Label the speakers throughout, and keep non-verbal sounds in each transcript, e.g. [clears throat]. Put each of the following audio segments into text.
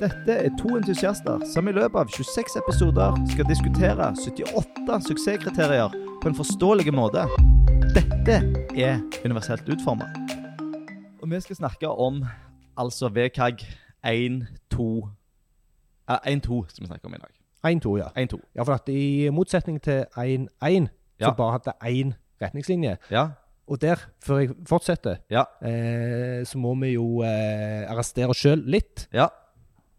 Speaker 1: Dette er to entusiaster som i løpet av 26 episoder skal diskutere 78 suksesskriterier på en forståelig måte. Dette er universelt utforma. Og vi skal snakke om altså VKG 1-2 Eh, 1-2 skal vi snakke om i dag.
Speaker 2: 1-2, ja.
Speaker 1: 1-2.
Speaker 2: Ja, for at I motsetning til 1-1,
Speaker 1: Ja.
Speaker 2: så bare hadde én retningslinje.
Speaker 1: Ja,
Speaker 2: Og der, før jeg fortsetter,
Speaker 1: ja,
Speaker 2: eh, så må vi jo eh, arrestere oss sjøl litt.
Speaker 1: ja,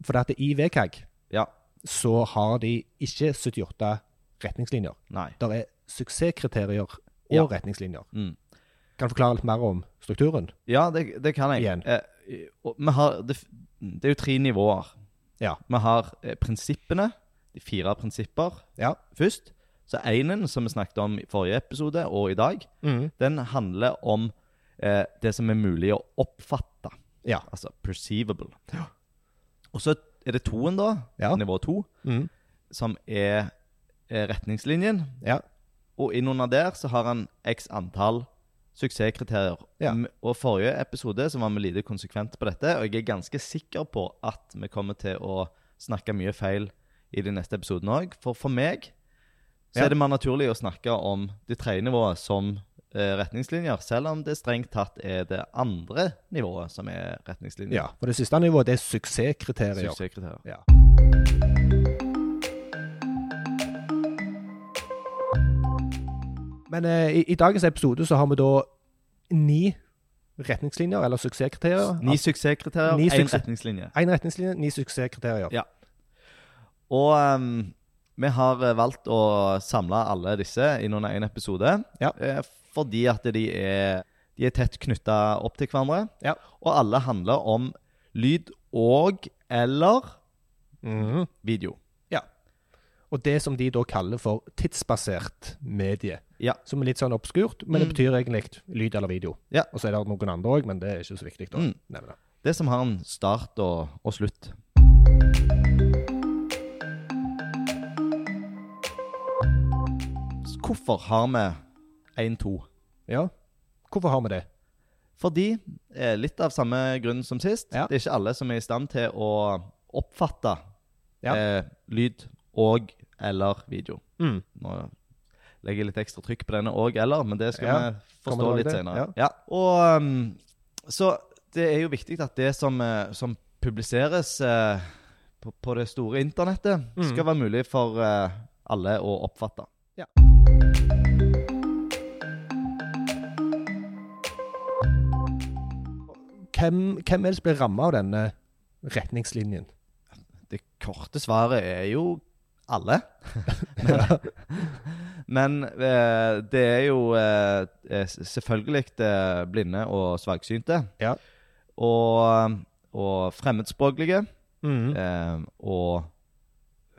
Speaker 2: For at i VKG
Speaker 1: ja.
Speaker 2: så har de ikke 78 retningslinjer.
Speaker 1: Nei.
Speaker 2: Der er suksesskriterier og
Speaker 1: Ja.
Speaker 2: retningslinjer.
Speaker 1: Mm.
Speaker 2: Kan du forklare litt mer om strukturen?
Speaker 1: Ja, det, det kan jeg.
Speaker 2: Igjen.
Speaker 1: Eh, og vi har, det, f- det er jo tre nivåer.
Speaker 2: Ja.
Speaker 1: Vi har eh, prinsippene, de fire prinsipper
Speaker 2: Ja.
Speaker 1: først. Så enen, som vi snakket om i forrige episode og i dag, den handler om eh, det som er mulig å oppfatte.
Speaker 2: Ja.
Speaker 1: Altså perceivable. Og så er det toen, da.
Speaker 2: Ja.
Speaker 1: Nivå to.
Speaker 2: Mhm.
Speaker 1: Som er, er retningslinjen.
Speaker 2: Ja.
Speaker 1: Og innunder der så har han x antall suksesskriterier.
Speaker 2: Ja.
Speaker 1: M- Og forrige episode så var vi lite konsekvente på dette, og jeg er ganske sikker på at vi kommer til å snakke mye feil i de neste episodene òg. For for meg så
Speaker 2: Ja.
Speaker 1: er det mer naturlig å snakke om det tredje nivået som eh, retningslinjer, selv om det strengt tatt er det andre nivået som er retningslinjer.
Speaker 2: ja. Og det siste nivået, det er suksesskriterier.
Speaker 1: Suksesskriterier.
Speaker 2: Ja. Men eh, i, i dagens episode så har vi da ni retningslinjer, eller suksesskriterier.
Speaker 1: Ni suksesskriterier,
Speaker 2: Ni
Speaker 1: én
Speaker 2: suksess-
Speaker 1: retningslinje.
Speaker 2: Én retningslinje, ni suksesskriterier.
Speaker 1: Ja. Og ehm, vi har eh, valgt å samle alle disse innunder én episode.
Speaker 2: Ja.
Speaker 1: eh, fordi at de er, de er tett knytta opp til hverandre.
Speaker 2: Ja.
Speaker 1: Og alle handler om lyd og eller
Speaker 2: Mhm.
Speaker 1: video.
Speaker 2: Og det som de da kaller for tidsbasert medie.
Speaker 1: Ja.
Speaker 2: Som er litt sånn obskurt, men det
Speaker 1: Mm.
Speaker 2: betyr egentlig lyd eller video.
Speaker 1: Ja.
Speaker 2: Og så er det noen andre òg, men det er ikke så viktig å
Speaker 1: Mm.
Speaker 2: nevne.
Speaker 1: Det som har en start og, og slutt. Så Hvorfor har vi 1-2?
Speaker 2: Ja. Hvorfor har vi det?
Speaker 1: Fordi, eh, litt av samme grunn som sist,
Speaker 2: Ja.
Speaker 1: det er ikke alle som er i stand til å oppfatte
Speaker 2: Ja.
Speaker 1: eh, lyd og eller video.
Speaker 2: Mm.
Speaker 1: Nå legger jeg litt ekstra trykk på denne og eller, men det skal
Speaker 2: Ja,
Speaker 1: vi forstå
Speaker 2: kommer vi
Speaker 1: litt
Speaker 2: tilbake til,
Speaker 1: senere. Ja. Og, um, så det er jo viktig at det som, eh, som publiseres eh, på, på det store internettet,
Speaker 2: Mm.
Speaker 1: skal være mulig for eh, alle å oppfatte.
Speaker 2: Ja. Hvem, hvem ellers blir ramma av denne retningslinjen?
Speaker 1: Det korte svaret er jo
Speaker 2: [laughs]
Speaker 1: alle. men men eh, det er jo eh, eh, selvfølgelig eh, blinde og svaksynte.
Speaker 2: Ja.
Speaker 1: Og, eh, og fremmedspråklige.
Speaker 2: Mm.
Speaker 1: eh, og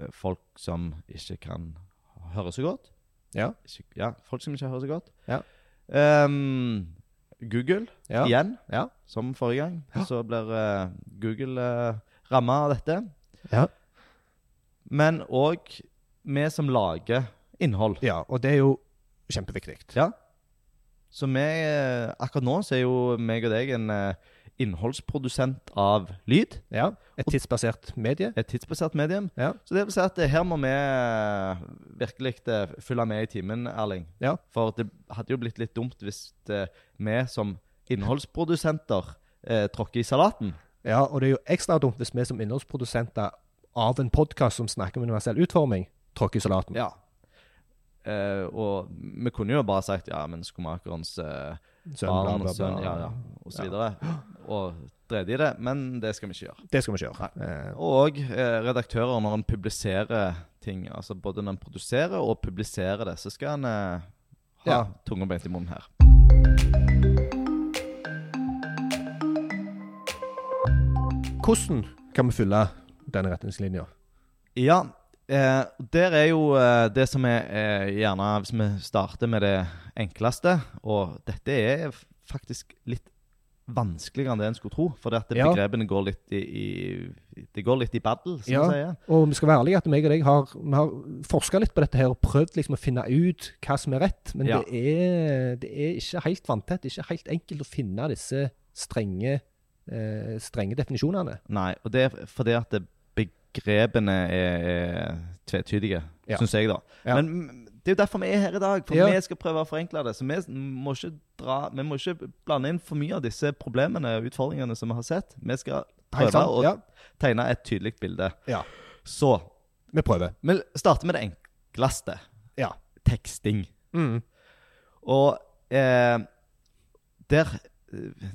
Speaker 1: eh, folk som ikke kan høre så godt.
Speaker 2: Ja.
Speaker 1: Ikke, ja folk som ikke hører så godt.
Speaker 2: Ja.
Speaker 1: Ehm, Google
Speaker 2: Ja.
Speaker 1: igjen,
Speaker 2: Ja.
Speaker 1: som forrige gang. Så blir eh, Google uh, ramma av dette.
Speaker 2: Ja.
Speaker 1: Men òg vi som lager innhold.
Speaker 2: ja, og det er jo kjempeviktig.
Speaker 1: Ja. Så vi, eh, akkurat nå så er jo meg og deg en eh, innholdsprodusent av lyd.
Speaker 2: Ja, Et tidsbasert medie.
Speaker 1: Et tidsbasert medium.
Speaker 2: Ja.
Speaker 1: Så det vil si at eh, her må vi eh, virkelig eh, følge med i timen, Erling.
Speaker 2: Ja.
Speaker 1: For det hadde jo blitt litt dumt hvis eh, vi som innholdsprodusenter eh, tråkker i salaten.
Speaker 2: ja, Og det er jo ekstra dumt hvis vi som innholdsprodusenter av en podkast som snakker om universell utforming, tråkker i salaten.
Speaker 1: Ja. Eh, og vi kunne jo bare sagt ja, men skomakerens eh,
Speaker 2: Sønn,
Speaker 1: barn
Speaker 2: bla, bla,
Speaker 1: og
Speaker 2: bla.
Speaker 1: sønn, ja, ja, og så videre. Og dreit i det. Men det skal vi ikke gjøre.
Speaker 2: Det skal vi ikke gjøre. Eh,
Speaker 1: Og eh, redaktører, når en publiserer ting, altså både når en produserer og publiserer det, så skal en eh, ha
Speaker 2: Ja.
Speaker 1: tunga beint i munnen her.
Speaker 2: hvordan kan vi fylle denne retningslinja?
Speaker 1: Ja, eh, der er jo eh, det som er eh, gjerne Hvis vi starter med det enkleste, og dette er f- faktisk litt vanskeligere enn det en skulle tro, for det at
Speaker 2: Ja.
Speaker 1: begrepene går litt i, i Det går litt i battle, som
Speaker 2: Ja.
Speaker 1: man sier.
Speaker 2: Og vi skal være ærlige at meg og deg har, vi har forska litt på dette her og prøvd liksom å finne ut hva som er rett, men
Speaker 1: Ja.
Speaker 2: det, er, det er ikke helt vanntett. Det er ikke helt enkelt å finne disse strenge eh, strenge definisjonene.
Speaker 1: Nei, og det er fordi at det- begrepene er, er tvetydige,
Speaker 2: Ja.
Speaker 1: syns jeg, da.
Speaker 2: Ja.
Speaker 1: Men det er jo derfor vi er her i dag, for
Speaker 2: Ja.
Speaker 1: vi skal prøve å forenkle det. Så vi må, ikke dra, vi må ikke blande inn for mye av disse problemene og utfordringene som vi har sett. Vi skal
Speaker 2: Helt
Speaker 1: prøve
Speaker 2: sant,
Speaker 1: å
Speaker 2: ja.
Speaker 1: tegne et tydelig bilde.
Speaker 2: Ja.
Speaker 1: Så
Speaker 2: Vi prøver.
Speaker 1: vi starter med det enkleste.
Speaker 2: Ja.
Speaker 1: Teksting.
Speaker 2: Mm.
Speaker 1: Og eh, der,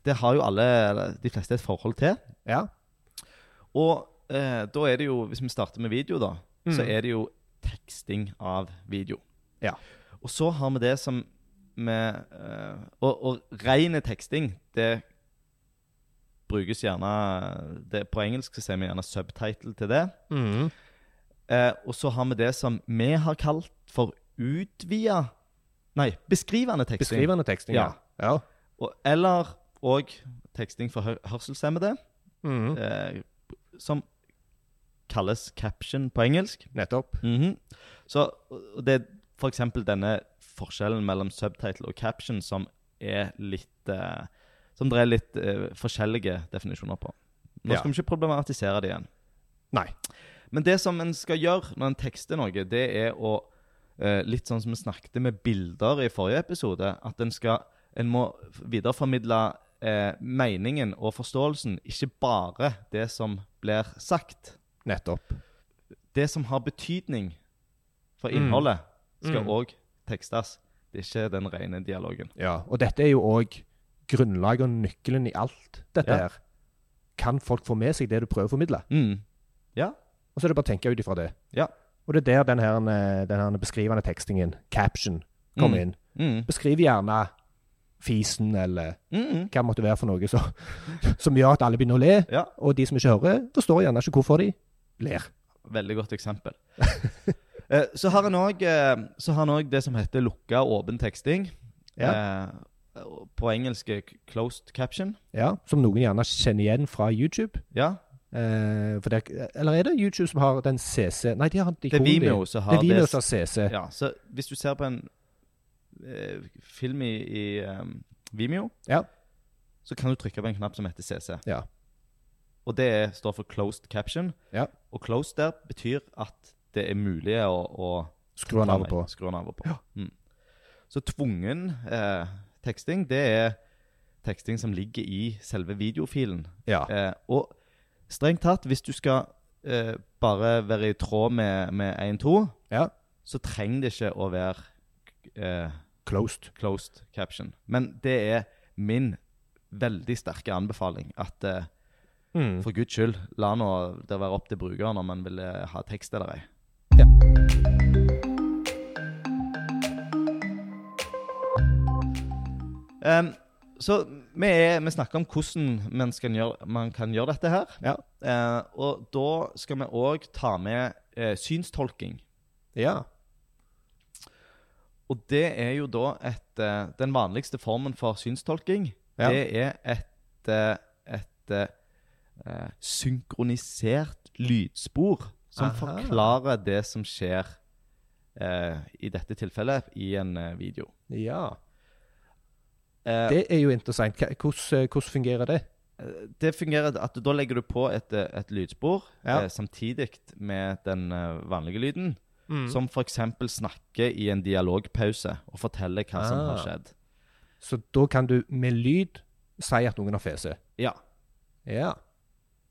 Speaker 1: der har jo alle, eller de fleste, et forhold til.
Speaker 2: Ja.
Speaker 1: Og eh, da er det jo, hvis vi starter med video, da, så
Speaker 2: Mm.
Speaker 1: er det jo teksting av video.
Speaker 2: Ja.
Speaker 1: Og så har vi det som med eh, Og, og rene teksting, det brukes gjerne det, På engelsk så sier vi gjerne subtitle til det.
Speaker 2: Mm.
Speaker 1: Eh, og så har vi det som vi har kalt for utvida Nei, beskrivende teksting.
Speaker 2: Beskrivende teksting, ja. ja.
Speaker 1: Og, eller òg teksting for hø hørselshemmede,
Speaker 2: Mm.
Speaker 1: eh, som kalles caption på engelsk.
Speaker 2: Nettopp.
Speaker 1: Mhm. Så og det er f.eks. denne forskjellen mellom subtitle og caption som er litt eh, Som det er litt eh, forskjellige definisjoner på. Nå
Speaker 2: Ja.
Speaker 1: skal vi ikke problematisere det igjen.
Speaker 2: Nei.
Speaker 1: Men det som en skal gjøre når en tekster noe, det er å eh, Litt sånn som vi snakket med bilder i forrige episode, at en skal En må videreformidle eh, meningen og forståelsen, ikke bare det som blir sagt.
Speaker 2: Nettopp.
Speaker 1: Det som har betydning for
Speaker 2: Mm.
Speaker 1: innholdet, skal
Speaker 2: Mm.
Speaker 1: òg tekstes. Det er ikke den rene dialogen.
Speaker 2: Ja. Og dette er jo òg grunnlaget og nøkkelen i alt dette
Speaker 1: Ja.
Speaker 2: her. Kan folk få med seg det du prøver å formidle?
Speaker 1: Mm.
Speaker 2: Og så er det bare å tenke ut ifra det.
Speaker 1: Ja.
Speaker 2: Og det er der den her, eh, den her beskrivende tekstingen, caption, kommer
Speaker 1: Mm.
Speaker 2: inn.
Speaker 1: Mm.
Speaker 2: Beskriv gjerne fisen, eller
Speaker 1: Mm. Mm.
Speaker 2: hva det måtte være for noe som, [laughs] som gjør at alle begynner å le.
Speaker 1: Ja.
Speaker 2: Og de som ikke hører, forstår gjerne ikke hvorfor de ler.
Speaker 1: Veldig godt
Speaker 2: [laughs]
Speaker 1: eksempel. Eh, så har eh, en òg det som heter lukka åpen teksting. Eh, og på engelsk er c- closed caption.
Speaker 2: Ja, Som noen gjerne kjenner igjen fra YouTube.
Speaker 1: Ja,
Speaker 2: Eh, for det, er- eller er det YouTube som har den CC Nei, de har de
Speaker 1: Det er
Speaker 2: ikonen, de.
Speaker 1: Vimeo som
Speaker 2: Det
Speaker 1: har
Speaker 2: er Vimeo
Speaker 1: det.
Speaker 2: som har CC.
Speaker 1: Ja, så hvis du ser på en eh, film i, i em, Vimeo,
Speaker 2: Ja.
Speaker 1: så kan du trykke på en knapp som heter CC.
Speaker 2: Ja.
Speaker 1: Og det er, står for closed caption.
Speaker 2: Ja.
Speaker 1: Og closed der betyr at det er mulig å, å
Speaker 2: Skru den av og på.
Speaker 1: Skru den av og på. Mm. Så tvungen eh, teksting, det er teksting som ligger i selve videofilen.
Speaker 2: Ja.
Speaker 1: Eh, og strengt tatt, hvis du skal eh, bare være i tråd med, med 1.2,
Speaker 2: ja.
Speaker 1: så trenger det ikke å være eh,
Speaker 2: Closed.
Speaker 1: closed caption. Men det er min veldig sterke anbefaling at eh,
Speaker 2: Mm.
Speaker 1: for guds skyld, la nå det være opp til brukeren om man vil eh, ha tekst eller ei.
Speaker 2: Ja.
Speaker 1: Em, så vi, er, vi snakker om hvordan man, skal gjøre, man kan gjøre dette her.
Speaker 2: Ja.
Speaker 1: Eh, og da skal vi òg ta med eh, synstolking.
Speaker 2: ja.
Speaker 1: Og det er jo da et eh, Den vanligste formen for synstolking,
Speaker 2: Ja.
Speaker 1: det er et, eh, et eh, eh, synkronisert lydspor som
Speaker 2: Aha.
Speaker 1: forklarer det som skjer eh, i dette tilfellet i en eh, video.
Speaker 2: Ja.
Speaker 1: Eh, det, eh,
Speaker 2: Det er jo interessant. Hva- Hvordan, eh, hvordan fungerer det?
Speaker 1: det fungerer at da legger du på et, eh, et lydspor
Speaker 2: Ja.
Speaker 1: eh, samtidig med den eh, vanlige lyden,
Speaker 2: Mm.
Speaker 1: som f.eks. snakker i en dialogpause og forteller hva som har
Speaker 2: Ah.
Speaker 1: skjedd.
Speaker 2: Så da kan du med lyd si at noen har fese.
Speaker 1: Ja.
Speaker 2: Ja.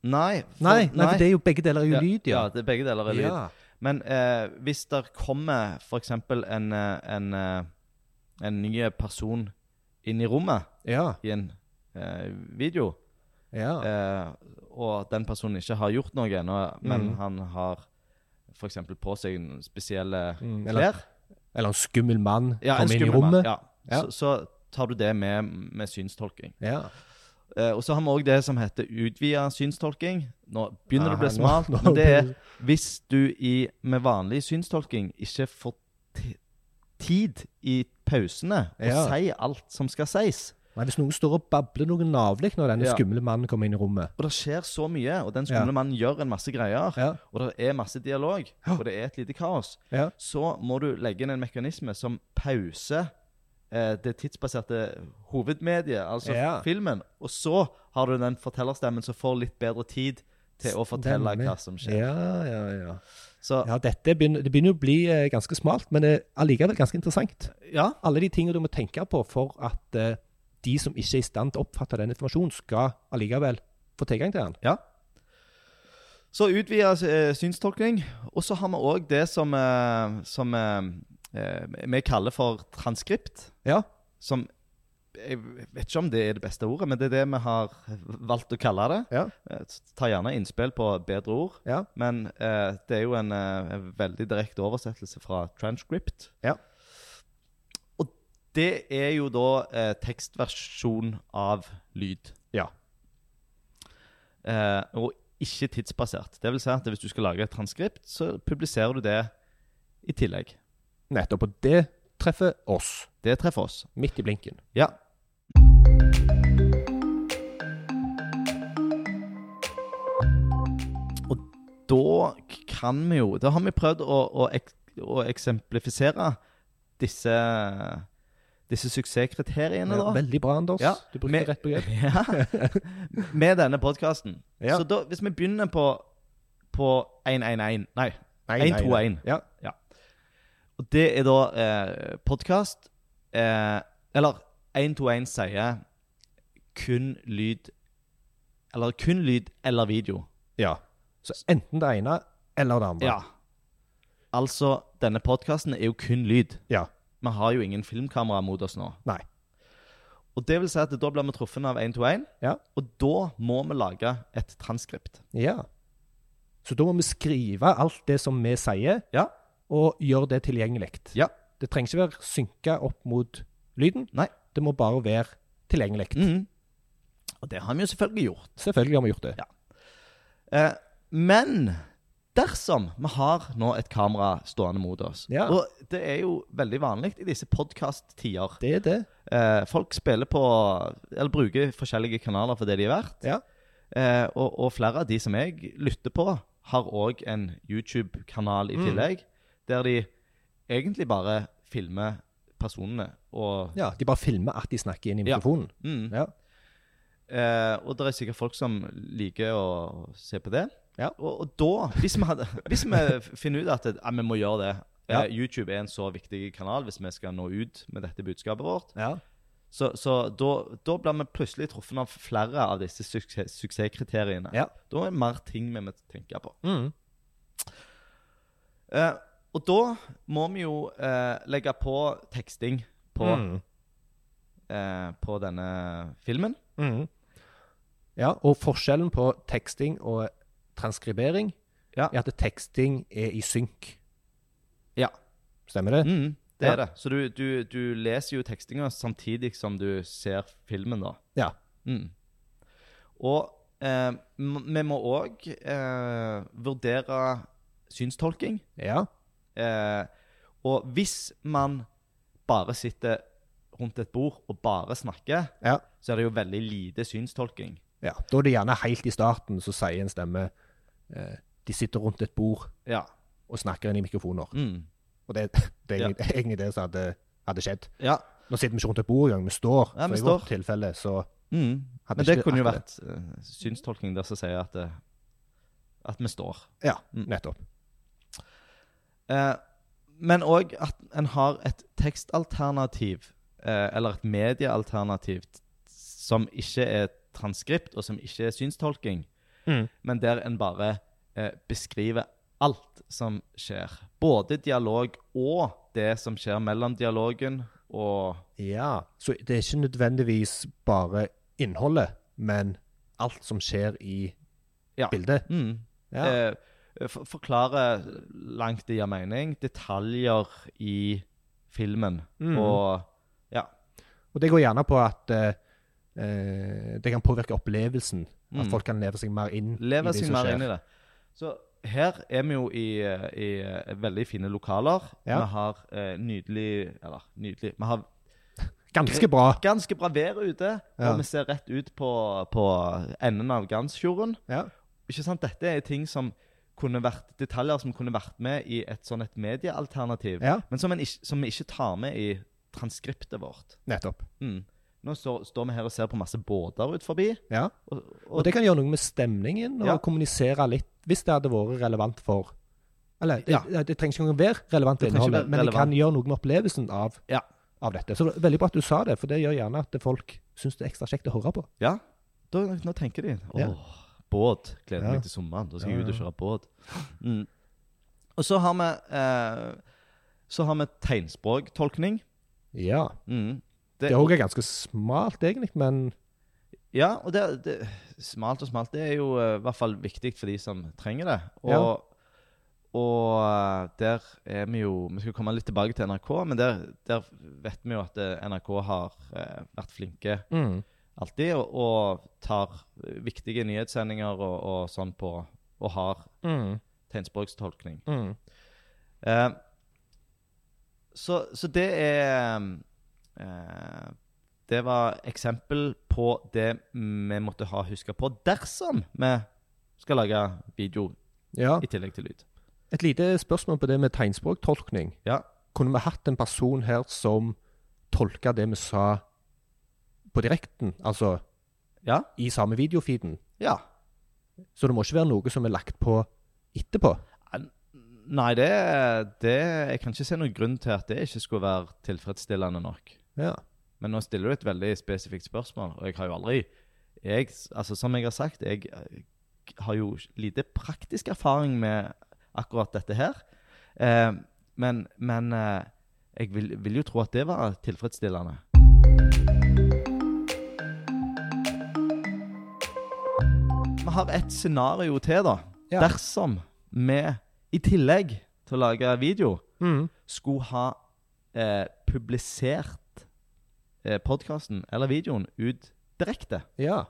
Speaker 1: Nei. for-
Speaker 2: Nei, nei, for det er jo begge deler er jo lyd, ja.
Speaker 1: Ja, det er begge deler er lyd.
Speaker 2: Ja.
Speaker 1: Men eh, hvis der kommer f.eks. En, eh, en, eh, en ny person inn i rommet
Speaker 2: Ja.
Speaker 1: i en eh, video,
Speaker 2: ja.
Speaker 1: eh, og den personen ikke har gjort noe ennå, men
Speaker 2: Mhm.
Speaker 1: han har f.eks. på seg en spesielle
Speaker 2: Mm, eller-
Speaker 1: Eh, klær
Speaker 2: Eller en skummel mann
Speaker 1: Ja, en
Speaker 2: kommer inn i
Speaker 1: skummel mann,
Speaker 2: rommet.
Speaker 1: Ja.
Speaker 2: Ja.
Speaker 1: Så, så tar du det med med synstolking.
Speaker 2: Ja.
Speaker 1: Eh, og så har vi òg det som heter utvida synstolking. Nå begynner det å
Speaker 2: Aha,
Speaker 1: bli
Speaker 2: nå-
Speaker 1: smalt,
Speaker 2: nå
Speaker 1: men det er
Speaker 2: blir-
Speaker 1: hvis du i, med vanlig synstolking ikke får ti- tid i pausene å
Speaker 2: Ja.
Speaker 1: si alt som skal sies
Speaker 2: Nei, hvis noen står og babler noe navlig når denne
Speaker 1: Ja.
Speaker 2: skumle mannen kommer inn
Speaker 1: [laughs]
Speaker 2: i rommet.
Speaker 1: Og det skjer så mye, og den skumle
Speaker 2: Ja.
Speaker 1: mannen gjør en masse greier,
Speaker 2: Ja.
Speaker 1: og det er masse dialog,
Speaker 2: Ja.
Speaker 1: og det er et lite kaos,
Speaker 2: Ja.
Speaker 1: så må du legge inn en mekanisme som pauser eh, det tidsbaserte hovedmediet, altså
Speaker 2: Ja.
Speaker 1: filmen, og så har du den fortellerstemmen som får litt bedre tid til å fortelle
Speaker 2: Stemmer.
Speaker 1: hva som skjer.
Speaker 2: Ja, ja, ja.
Speaker 1: Så
Speaker 2: ja dette begynner, det begynner å bli eh, ganske smalt, men eh, allikevel ganske interessant.
Speaker 1: ja,
Speaker 2: Alle de tingene du må tenke på for at eh, de som ikke er i stand til å oppfatte den informasjonen, skal allikevel få tilgang til den.
Speaker 1: Ja. Så utvida eh, synstolkning. Og så har vi òg det som, eh, som eh, eh, vi kaller for transkript.
Speaker 2: Ja.
Speaker 1: Som Jeg vet ikke om det er det beste ordet, men det er det vi har valgt å kalle det.
Speaker 2: Ja.
Speaker 1: Eh, Ta gjerne innspill på bedre ord.
Speaker 2: Ja.
Speaker 1: Men eh, det er jo en, eh, en veldig direkte oversettelse fra transcript.
Speaker 2: Ja.
Speaker 1: Og det er jo da eh, tekstversjon av lyd.
Speaker 2: Ja.
Speaker 1: Eh, og ikke tidsbasert. Det vil si at hvis du skal lage et transkript, så publiserer du det i tillegg.
Speaker 2: Nettopp. Og det treffer oss
Speaker 1: Det treffer oss.
Speaker 2: midt i blinken.
Speaker 1: Ja. Og da k- kan vi jo Da har vi prøvd å, å, ek, å eksemplifisere disse, disse suksesskriteriene, da.
Speaker 2: Veldig bra, Anders.
Speaker 1: Ja,
Speaker 2: Du brukte
Speaker 1: men-
Speaker 2: rett begrep.
Speaker 1: [laughs] Ja. Med denne podkasten.
Speaker 2: Ja.
Speaker 1: Så da, hvis vi begynner på, på 111 Nei,
Speaker 2: Nei,
Speaker 1: 121.
Speaker 2: Ja.
Speaker 1: Og det er da eh, podkast eh, Eller 121 sier kun lyd Eller kun lyd eller video.
Speaker 2: ja. Så enten det ene eller det andre.
Speaker 1: Altså, denne podkasten er jo kun lyd.
Speaker 2: Ja.
Speaker 1: Vi har jo ingen filmkamera mot oss nå.
Speaker 2: Nei.
Speaker 1: Og det vil si at da blir vi truffet av 121,
Speaker 2: Ja.
Speaker 1: og da må vi lage et transkript.
Speaker 2: Ja. Så da må vi skrive alt det som vi sier,
Speaker 1: Ja.
Speaker 2: og gjøre det tilgjengelig.
Speaker 1: Ja.
Speaker 2: Det trenger ikke være synka opp mot lyden.
Speaker 1: Nei.
Speaker 2: Det må bare være tilgjengelig.
Speaker 1: Mhm. Og det har vi jo selvfølgelig gjort.
Speaker 2: Selvfølgelig har vi gjort det.
Speaker 1: Ja. Eh, men dersom vi har nå et kamera stående mot oss
Speaker 2: Ja.
Speaker 1: Og det er jo veldig vanlig i disse podkast-tider.
Speaker 2: Det er det.
Speaker 1: Eh, folk spiller på Eller bruker forskjellige kanaler for det de er verdt.
Speaker 2: Ja.
Speaker 1: Eh, og, og flere av de som jeg lytter på, har òg en YouTube-kanal
Speaker 2: Mm.
Speaker 1: i tillegg. Der de egentlig bare filmer personene og
Speaker 2: ja. De bare filmer at de snakker inn i
Speaker 1: Ja.
Speaker 2: mikrofonen.
Speaker 1: mm.
Speaker 2: Ja.
Speaker 1: Eh, og det er sikkert folk som liker å se på det.
Speaker 2: Ja.
Speaker 1: Og, og da, hvis vi, hadde, hvis vi finner ut at eh, vi må gjøre det eh,
Speaker 2: Ja.
Speaker 1: YouTube er en så viktig kanal hvis vi skal nå ut med dette budskapet vårt.
Speaker 2: Ja.
Speaker 1: Så, så da, da blir vi plutselig truffet av flere av disse suksess, suksesskriteriene.
Speaker 2: Ja.
Speaker 1: Da er det mer ting vi må tenke på.
Speaker 2: Mm.
Speaker 1: Eh, og da må vi jo eh, legge på teksting på,
Speaker 2: Mm.
Speaker 1: eh, på denne filmen.
Speaker 2: Mhm. Ja, og forskjellen på teksting og transkribering
Speaker 1: Ja.
Speaker 2: er at teksting er i synk.
Speaker 1: Ja.
Speaker 2: Stemmer det?
Speaker 1: Mm, det
Speaker 2: Ja.
Speaker 1: er det. Så du, du, du leser jo tekstinga samtidig som du ser filmen, da.
Speaker 2: Ja.
Speaker 1: Mm. Og eh, m- vi må òg eh, vurdere synstolking.
Speaker 2: Ja.
Speaker 1: Eh, og hvis man bare sitter rundt et bord og bare snakker,
Speaker 2: Ja.
Speaker 1: så er det jo veldig lite synstolking.
Speaker 2: ja. Da er det gjerne helt i starten så sier en stemme eh, De sitter rundt et bord
Speaker 1: Ja.
Speaker 2: og snakker inn i mikrofoner.
Speaker 1: Mm.
Speaker 2: Og det, det er egentlig, [laughs] egentlig det som hadde, hadde skjedd.
Speaker 1: ja.
Speaker 2: Nå sitter vi ikke rundt et bord engang, vi står.
Speaker 1: Ja, vi
Speaker 2: så i
Speaker 1: står.
Speaker 2: vårt tilfelle så
Speaker 1: Mm. Men
Speaker 2: Hadde ikke
Speaker 1: det
Speaker 2: det-
Speaker 1: kunne jo
Speaker 2: akkurat.
Speaker 1: vært eh, synstolking der som sier at, eh, at vi står.
Speaker 2: Ja,
Speaker 1: Mm.
Speaker 2: nettopp.
Speaker 1: Eh, men òg at en har et tekstalternativ, eh, eller et mediealternativ, t- som ikke er transkript, og som ikke er synstolking,
Speaker 2: Mm.
Speaker 1: men der en bare eh, beskriver alt som skjer. Både dialog og det som skjer mellom dialogen og
Speaker 2: Ja. Så det er ikke nødvendigvis bare innholdet, men alt som skjer i
Speaker 1: Ja.
Speaker 2: bildet.
Speaker 1: mm,
Speaker 2: Ja.
Speaker 1: eh, for, Forklare langt det gir mening, detaljer i filmen
Speaker 2: Mm.
Speaker 1: og Ja.
Speaker 2: Og det går gjerne på at eh, eh, det kan påvirke opplevelsen. At
Speaker 1: Mm.
Speaker 2: folk kan leve seg mer inn
Speaker 1: Lever
Speaker 2: i det
Speaker 1: seg
Speaker 2: som
Speaker 1: mer
Speaker 2: skjer.
Speaker 1: inn i det. Så her er vi jo i, eh, i eh, veldig fine lokaler.
Speaker 2: Ja.
Speaker 1: Vi har eh, nydelig Eller nydelig Vi har
Speaker 2: Ganske bra.
Speaker 1: ganske bra vær ute,
Speaker 2: Ja.
Speaker 1: og vi ser rett ut på, på enden av Gansfjorden.
Speaker 2: Ja.
Speaker 1: Ikke sant? Dette er ting som kunne vært detaljer som kunne vært med i et sånn et mediealternativ,
Speaker 2: ja,
Speaker 1: men som, en, ikk- som vi ikke tar med i transkriptet vårt.
Speaker 2: nettopp.
Speaker 1: Mm. Nå så, står vi her og ser på masse båter ut forbi.
Speaker 2: Ja.
Speaker 1: Og,
Speaker 2: Og det kan gjøre noe med stemningen, og
Speaker 1: Ja.
Speaker 2: kommunisere litt, hvis det hadde vært relevant for Eller det,
Speaker 1: Ja.
Speaker 2: det, det trenger ikke engang være relevant for
Speaker 1: Det trenger ikke
Speaker 2: innholdet,
Speaker 1: være
Speaker 2: men det
Speaker 1: relevant.
Speaker 2: kan gjøre noe med opplevelsen av,
Speaker 1: Ja.
Speaker 2: av dette. Så det er veldig bra at du sa det, for det gjør gjerne at folk syns det er ekstra kjekt å høre på.
Speaker 1: Ja, da, nå tenker de. Åh,
Speaker 2: Ja.
Speaker 1: båt. Gleder
Speaker 2: Ja.
Speaker 1: meg til sommeren. Da skal
Speaker 2: Ja,
Speaker 1: jeg ut og
Speaker 2: ja.
Speaker 1: kjøre båt. Mm. Og så har vi eh, så har vi tegnspråktolkning.
Speaker 2: Ja.
Speaker 1: Mm.
Speaker 2: Det òg er ganske smalt, egentlig, men
Speaker 1: Ja, og det, det Smalt og smalt. Det er jo eh, i hvert fall viktig for de som trenger det. Og,
Speaker 2: Ja.
Speaker 1: og eh, der er vi jo Vi skal komme litt tilbake til NRK, men der, der vet vi jo at eh, NRK har eh, vært flinke alltid og, og tar viktige nyhetssendinger og, og sånn på og har tegnspråkstolkning. Eh, så, så det er eh, Det var eksempel på det vi måtte ha huska på dersom vi skal lage video
Speaker 2: Ja.
Speaker 1: i tillegg til lyd.
Speaker 2: Et lite spørsmål på det med tegnspråktolkning.
Speaker 1: Ja.
Speaker 2: Kunne vi hatt en person her som tolka det vi sa på direkten, altså
Speaker 1: Ja.
Speaker 2: i samme videofeeden?
Speaker 1: ja.
Speaker 2: Så det må ikke være noe som er lagt på etterpå.
Speaker 1: Nei, det, det Jeg kan ikke se noen grunn til at det ikke skulle være tilfredsstillende nok.
Speaker 2: Ja.
Speaker 1: Men nå stiller du et veldig spesifikt spørsmål, og jeg har jo aldri jeg, altså Som jeg har sagt, jeg eh, har jo lite praktisk erfaring med akkurat dette her. Eh, men men eh, jeg vil, vil jo tro at det var tilfredsstillende. Vi har et scenario til, da.
Speaker 2: Ja.
Speaker 1: Dersom vi i tillegg til å lage video
Speaker 2: Mm.
Speaker 1: skulle ha eh, publisert eh, podkasten eller videoen ut direkte.
Speaker 2: Ja.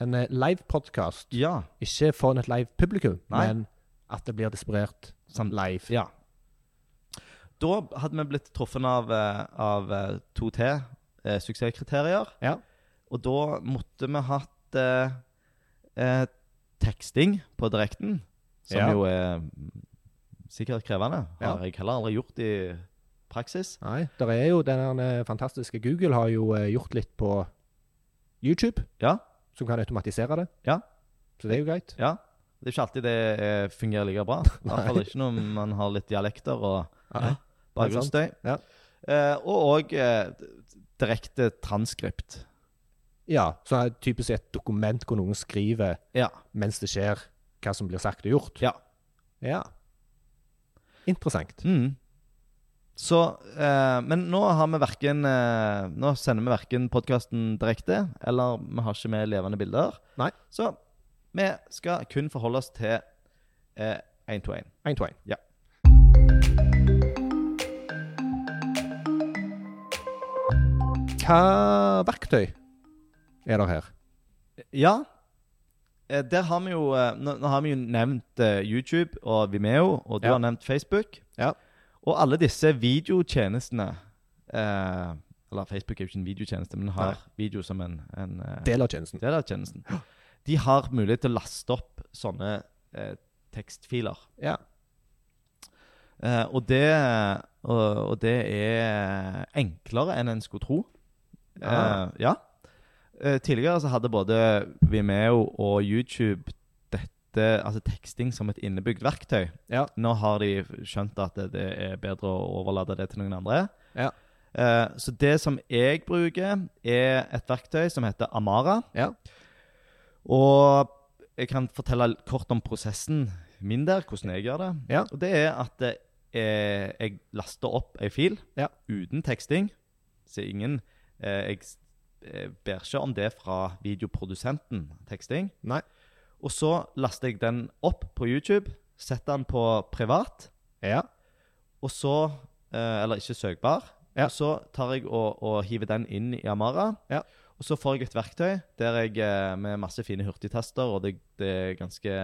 Speaker 2: En eh, live podkast.
Speaker 1: Ja.
Speaker 2: Ikke foran et live publikum,
Speaker 1: Nei.
Speaker 2: men at det blir distribuert
Speaker 1: Som-
Speaker 2: live.
Speaker 1: ja. Da hadde vi blitt truffet av, eh, av eh, 2T, eh, suksesskriterier.
Speaker 2: Ja.
Speaker 1: Og da måtte vi hatt eh, eh, teksting på direkten, som
Speaker 2: Ja.
Speaker 1: jo er mm, sikkert krevende.
Speaker 2: Ja.
Speaker 1: Har jeg heller aldri gjort i praksis.
Speaker 2: Nei, der er jo den eh, fantastiske Google har jo eh, gjort litt på YouTube,
Speaker 1: Ja,
Speaker 2: som kan automatisere det.
Speaker 1: Ja.
Speaker 2: Så det er jo greit.
Speaker 1: ja. Det er ikke alltid det eh, fungerer like bra. I hvert fall ikke når man har litt dialekter og
Speaker 2: Nei.
Speaker 1: Bakgrunnsstøy.
Speaker 2: Ja.
Speaker 1: Eh, og òg eh, direkte transkript.
Speaker 2: Ja, så er det typisk et dokument hvor noen skriver
Speaker 1: Ja.
Speaker 2: mens det skjer, hva som blir sagt og gjort.
Speaker 1: Ja.
Speaker 2: Ja. Interessant.
Speaker 1: Mm. Så eh, Men nå har vi verken eh, Nå sender vi verken podkasten direkte, eller vi har ikke med levende bilder.
Speaker 2: Nei.
Speaker 1: Så vi skal kun forholde oss til én to én.
Speaker 2: Ein to ein.
Speaker 1: Ja.
Speaker 2: Hva verktøy er det her?
Speaker 1: Ja. Eh, Der har vi jo eh, Nå, nå har vi jo nevnt eh, YouTube og Vimeo, og du
Speaker 2: Ja.
Speaker 1: har nevnt Facebook.
Speaker 2: Ja.
Speaker 1: Og alle disse videotjenestene eh, Eller Facebook er jo ikke en videotjeneste, men har video som en, en eh,
Speaker 2: Del av tjenesten.
Speaker 1: del av tjenesten. De har mulighet til å laste opp sånne eh, tekstfiler.
Speaker 2: Ja.
Speaker 1: Eh, og, det, og, og det er enklere enn en skulle tro. Eh,
Speaker 2: Ah.
Speaker 1: ja. Eh, tidligere så hadde både Vimeo og YouTube dette, altså teksting som et innebygd verktøy.
Speaker 2: Ja.
Speaker 1: Nå har de skjønt at det, det er bedre å overlate det til noen andre.
Speaker 2: Ja.
Speaker 1: Eh, så det som jeg bruker, er et verktøy som heter Amara.
Speaker 2: Ja.
Speaker 1: Og jeg kan fortelle kort om prosessen min der, hvordan jeg gjør det.
Speaker 2: Ja.
Speaker 1: Og det er at eh, jeg laster opp ei fil
Speaker 2: Ja.
Speaker 1: uten teksting. Så ingen eh, Jeg s- eh, ber ikke om det fra videoprodusenten, teksting.
Speaker 2: Nei.
Speaker 1: Og så laster jeg den opp på YouTube, setter den på privat,
Speaker 2: Ja.
Speaker 1: og så eh, Eller ikke søkbar.
Speaker 2: Ja.
Speaker 1: Og så tar jeg og, og hiver den inn i Amara.
Speaker 2: Ja.
Speaker 1: Og så får jeg et verktøy der jeg eh, med masse fine hurtigtaster, og det, det er ganske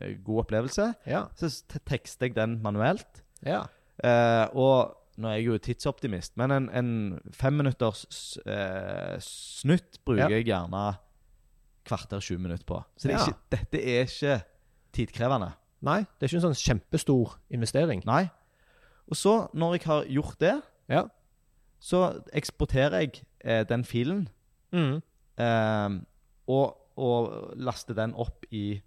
Speaker 1: eh, god opplevelse.
Speaker 2: Ja.
Speaker 1: Så s- te- tekster jeg den manuelt.
Speaker 2: Ja.
Speaker 1: Eh, og nå er jeg jo tidsoptimist, men en, en femminutters s- eh, snutt bruker jeg gjerne kvarter 20 minutter på. Så det er
Speaker 2: Ja.
Speaker 1: ikke, dette er ikke tidkrevende.
Speaker 2: Nei, det er ikke en sånn kjempestor investering.
Speaker 1: Nei. Og så, når jeg har gjort det,
Speaker 2: Ja.
Speaker 1: så eksporterer jeg eh, den filen
Speaker 2: Mm.
Speaker 1: eh, og, og laster den opp i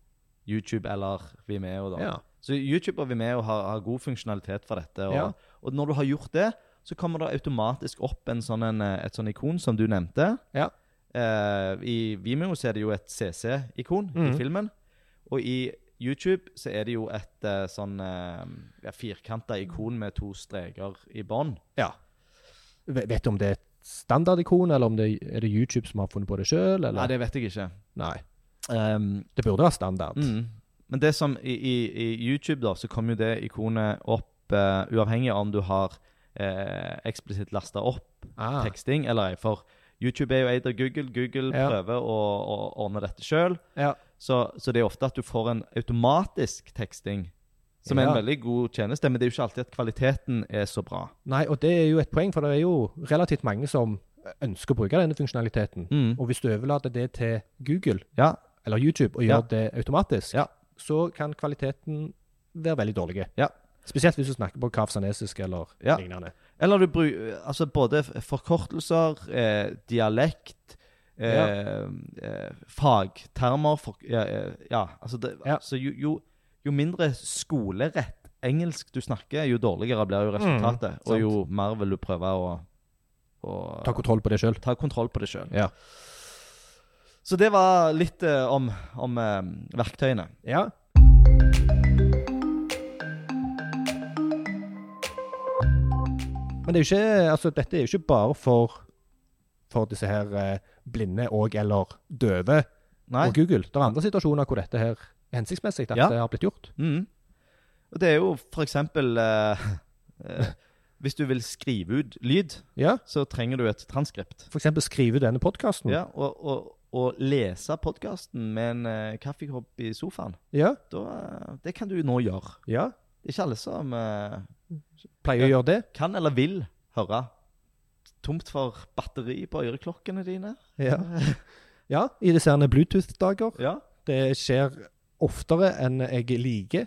Speaker 1: YouTube eller Vimeo. Da.
Speaker 2: Ja.
Speaker 1: Så YouTube og Vimeo har, har god funksjonalitet for dette. Og,
Speaker 2: Ja.
Speaker 1: og når du har gjort det, så kommer det automatisk opp en sånn en, eh, et sånn ikon som du nevnte.
Speaker 2: Ja.
Speaker 1: Eh, I Vimeo så er det jo et CC-ikon i
Speaker 2: Mhm.
Speaker 1: filmen. Og i YouTube så er det jo et eh, sånn uh, ja, firkanta ikon med to streker i bånn.
Speaker 2: ja. Ve- Vet du om det er et standardikon, eller om det er det YouTube som har funnet på det sjøl?
Speaker 1: Nei, det vet jeg ikke.
Speaker 2: Nei.
Speaker 1: Um,
Speaker 2: Det burde være standard.
Speaker 1: Mm. Men det som i, i, i YouTube da, så kommer jo det ikonet opp eh, uavhengig av om du har eh, eksplisitt lasta opp
Speaker 2: Ah.
Speaker 1: teksting eller ei. For YouTube er jo eid av Google. Google
Speaker 2: Ja.
Speaker 1: prøver å, å ordne dette sjøl.
Speaker 2: Ja.
Speaker 1: Så, så det er ofte at du får en automatisk teksting, som er
Speaker 2: Ja.
Speaker 1: en veldig god tjeneste. Men det er jo ikke alltid at kvaliteten er så bra.
Speaker 2: Nei, og det er jo et poeng, for det er jo relativt mange som ønsker å bruke denne funksjonaliteten.
Speaker 1: Mm.
Speaker 2: Og hvis du overlater det til Google
Speaker 1: Ja,
Speaker 2: eller YouTube og gjør
Speaker 1: Ja.
Speaker 2: det automatisk,
Speaker 1: Ja.
Speaker 2: så kan kvaliteten være veldig dårlig.
Speaker 1: Ja.
Speaker 2: Spesielt hvis du snakker på kafsanesisk eller
Speaker 1: Ja.
Speaker 2: lignende.
Speaker 1: Eller du bruker altså både f- forkortelser, eh, dialekt, eh, eh, fagtermer for, ja, eh, ja, altså det,
Speaker 2: Ja.
Speaker 1: Så jo, jo, jo mindre skolerett engelsk du snakker, jo dårligere blir jo resultatet.
Speaker 2: Mm. sant.
Speaker 1: og jo mer vil du prøve å, å
Speaker 2: Ta kontroll på det sjøl.
Speaker 1: ta kontroll på det sjøl.
Speaker 2: Ja.
Speaker 1: Så det var litt eh, om, om eh, verktøyene.
Speaker 2: Ja. Men det er jo ikke, altså, dette er jo ikke bare for, for disse her eh, blinde og eller døve
Speaker 1: Nei.
Speaker 2: og Google. Det er andre situasjoner hvor dette her er hensiktsmessig at
Speaker 1: Ja.
Speaker 2: det har blitt gjort.
Speaker 1: Mm. Og det er jo for eksempel eh, [laughs] eh, Hvis du vil skrive ut lyd,
Speaker 2: Ja,
Speaker 1: så trenger du et transkript.
Speaker 2: for eksempel skrive denne podkasten.
Speaker 1: Ja, og, og, og lese podkasten med en eh, kaffekopp i sofaen,
Speaker 2: ja,
Speaker 1: da, eh, det kan du nå gjøre.
Speaker 2: ja.
Speaker 1: Det er ikke alle som eh,
Speaker 2: Pleier å gjøre det.
Speaker 1: kan eller vil høre. Tomt for batteri på øreklokkene dine.
Speaker 2: Ja, ja i disse herne Bluetooth-dager.
Speaker 1: [laughs] Ja.
Speaker 2: Det skjer oftere enn jeg liker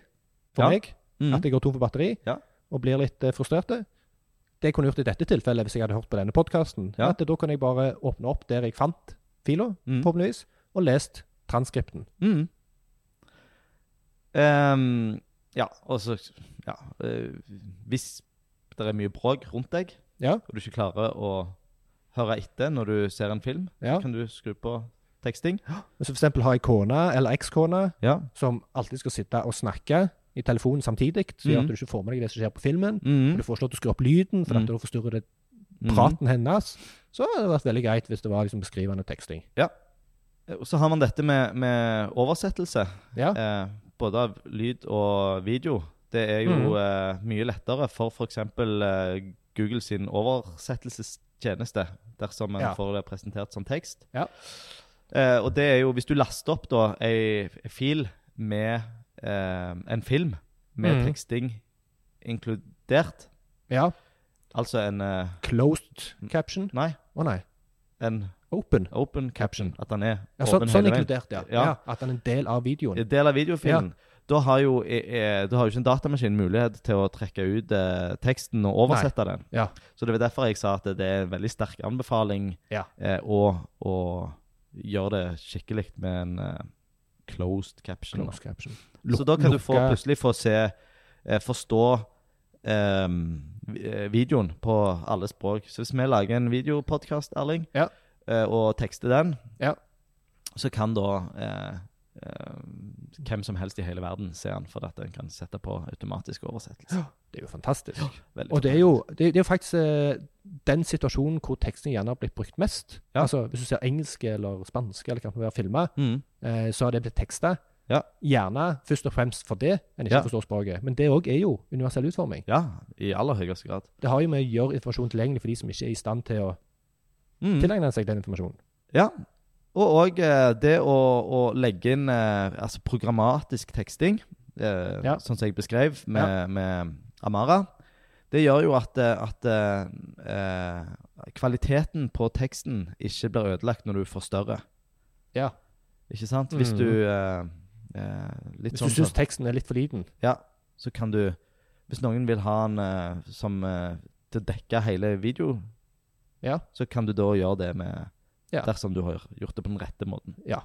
Speaker 2: for
Speaker 1: Ja.
Speaker 2: meg,
Speaker 1: Mm.
Speaker 2: at jeg går tom for batteri
Speaker 1: Ja.
Speaker 2: og blir litt eh, frustrert. Det jeg kunne gjort i dette tilfellet, hvis jeg hadde hørt på denne podkasten,
Speaker 1: Ja.
Speaker 2: at da kunne jeg bare åpne opp der jeg fant fila,
Speaker 1: Mm.
Speaker 2: forhåpentligvis, og lest transkripten.
Speaker 1: Mm. Ehm, ja, og så ja, eh, Hvis det er mye bråk rundt deg,
Speaker 2: Ja.
Speaker 1: og du ikke klarer å høre etter når du ser en film,
Speaker 2: Ja.
Speaker 1: kan du skru på teksting.
Speaker 2: Hvis for eksempel har jeg kone eller ekskone
Speaker 1: Ja.
Speaker 2: som alltid skal sitte og snakke i telefonen samtidig, så gjør at du ikke får med deg det som skjer på filmen. Og
Speaker 1: Mm.
Speaker 2: du får ikke lov til å skru opp lyden, for
Speaker 1: Mm.
Speaker 2: da forstyrrer det
Speaker 1: Mm.
Speaker 2: praten hennes. Så hadde det vært veldig greit hvis det var liksom beskrivende teksting.
Speaker 1: Mm-hmm. Og så har man dette med, med oversettelse,
Speaker 2: Ja,
Speaker 1: eh, både av lyd og video. Det er jo
Speaker 2: Mm-hmm.
Speaker 1: eh, mye lettere for f.eks. Eh, Google sin oversettelsestjeneste, dersom en
Speaker 2: Ja.
Speaker 1: får det presentert som tekst.
Speaker 2: Ja.
Speaker 1: Eh, og det er jo, hvis du laster opp da ei ei fil med eh, en film med
Speaker 2: Mhm.
Speaker 1: teksting inkludert,
Speaker 2: ja.
Speaker 1: altså en eh,
Speaker 2: Closed caption.
Speaker 1: Nei,
Speaker 2: Å nei,
Speaker 1: en
Speaker 2: open.
Speaker 1: open caption.
Speaker 2: Caption.
Speaker 1: At den er
Speaker 2: Ja, så,
Speaker 1: åpen
Speaker 2: sånn
Speaker 1: hele veien.
Speaker 2: inkludert, ja.
Speaker 1: Ja.
Speaker 2: ja. At den er en del av videoen.
Speaker 1: En del av videofilen. Da har jo, eh, eh, da har jo ikke en datamaskin mulighet til å trekke ut eh, teksten og oversette den.
Speaker 2: Ja.
Speaker 1: Så det var derfor jeg sa at det er en veldig sterk anbefaling
Speaker 2: Ja.
Speaker 1: eh, å, å gjøre det skikkelig med en eh, closed caption. da.
Speaker 2: Closed caption.
Speaker 1: Så da kan du få,
Speaker 2: Lukka-
Speaker 1: plutselig få se eh, Forstå eh, vi- eh, videoen på alle språk. Så hvis vi lager en videopodkast, Erling,
Speaker 2: Ja.
Speaker 1: eh, og tekster den,
Speaker 2: Ja.
Speaker 1: så kan da eh, eh, hvem som helst i hele verden se den, for at en kan sette på automatisk oversettelse.
Speaker 2: Det er jo fantastisk.
Speaker 1: Veldig
Speaker 2: Og det er jo, det, det er jo faktisk eh, den situasjonen hvor teksting gjerne har blitt brukt mest.
Speaker 1: Ja.
Speaker 2: Altså, Hvis du ser engelske eller spanske eller hva det kan være filmer,
Speaker 1: Mm.
Speaker 2: eh, så har det blitt teksta.
Speaker 1: Ja.
Speaker 2: Gjerne først og fremst for det en ikke
Speaker 1: Ja.
Speaker 2: forstår språket. Men det òg er jo universell utforming.
Speaker 1: Ja, i aller høyeste grad.
Speaker 2: Det har jo med å gjøre informasjon tilgjengelig for de som ikke er i stand til å
Speaker 1: Mm.
Speaker 2: tilegne seg den informasjonen.
Speaker 1: Ja. Og òg eh, det å, å legge inn eh, altså programmatisk teksting, eh,
Speaker 2: Ja.
Speaker 1: sånn som jeg beskrev med, med Amara, det gjør jo at, eh, at eh, eh, kvaliteten på teksten ikke blir ødelagt når du forstørrer.
Speaker 2: Ja.
Speaker 1: Ikke sant? Hvis
Speaker 2: Mhm.
Speaker 1: du eh, eh, Litt
Speaker 2: Hvis du
Speaker 1: sånn
Speaker 2: syns
Speaker 1: som-
Speaker 2: teksten er litt for liten.
Speaker 1: Ja, så kan du Hvis noen vil ha den eh, som eh, til å dekke hele videofilen,
Speaker 2: Ja.
Speaker 1: så kan du da gjøre det med
Speaker 2: Ja.
Speaker 1: Dersom du har gjort det på den rette måten.
Speaker 2: Ja.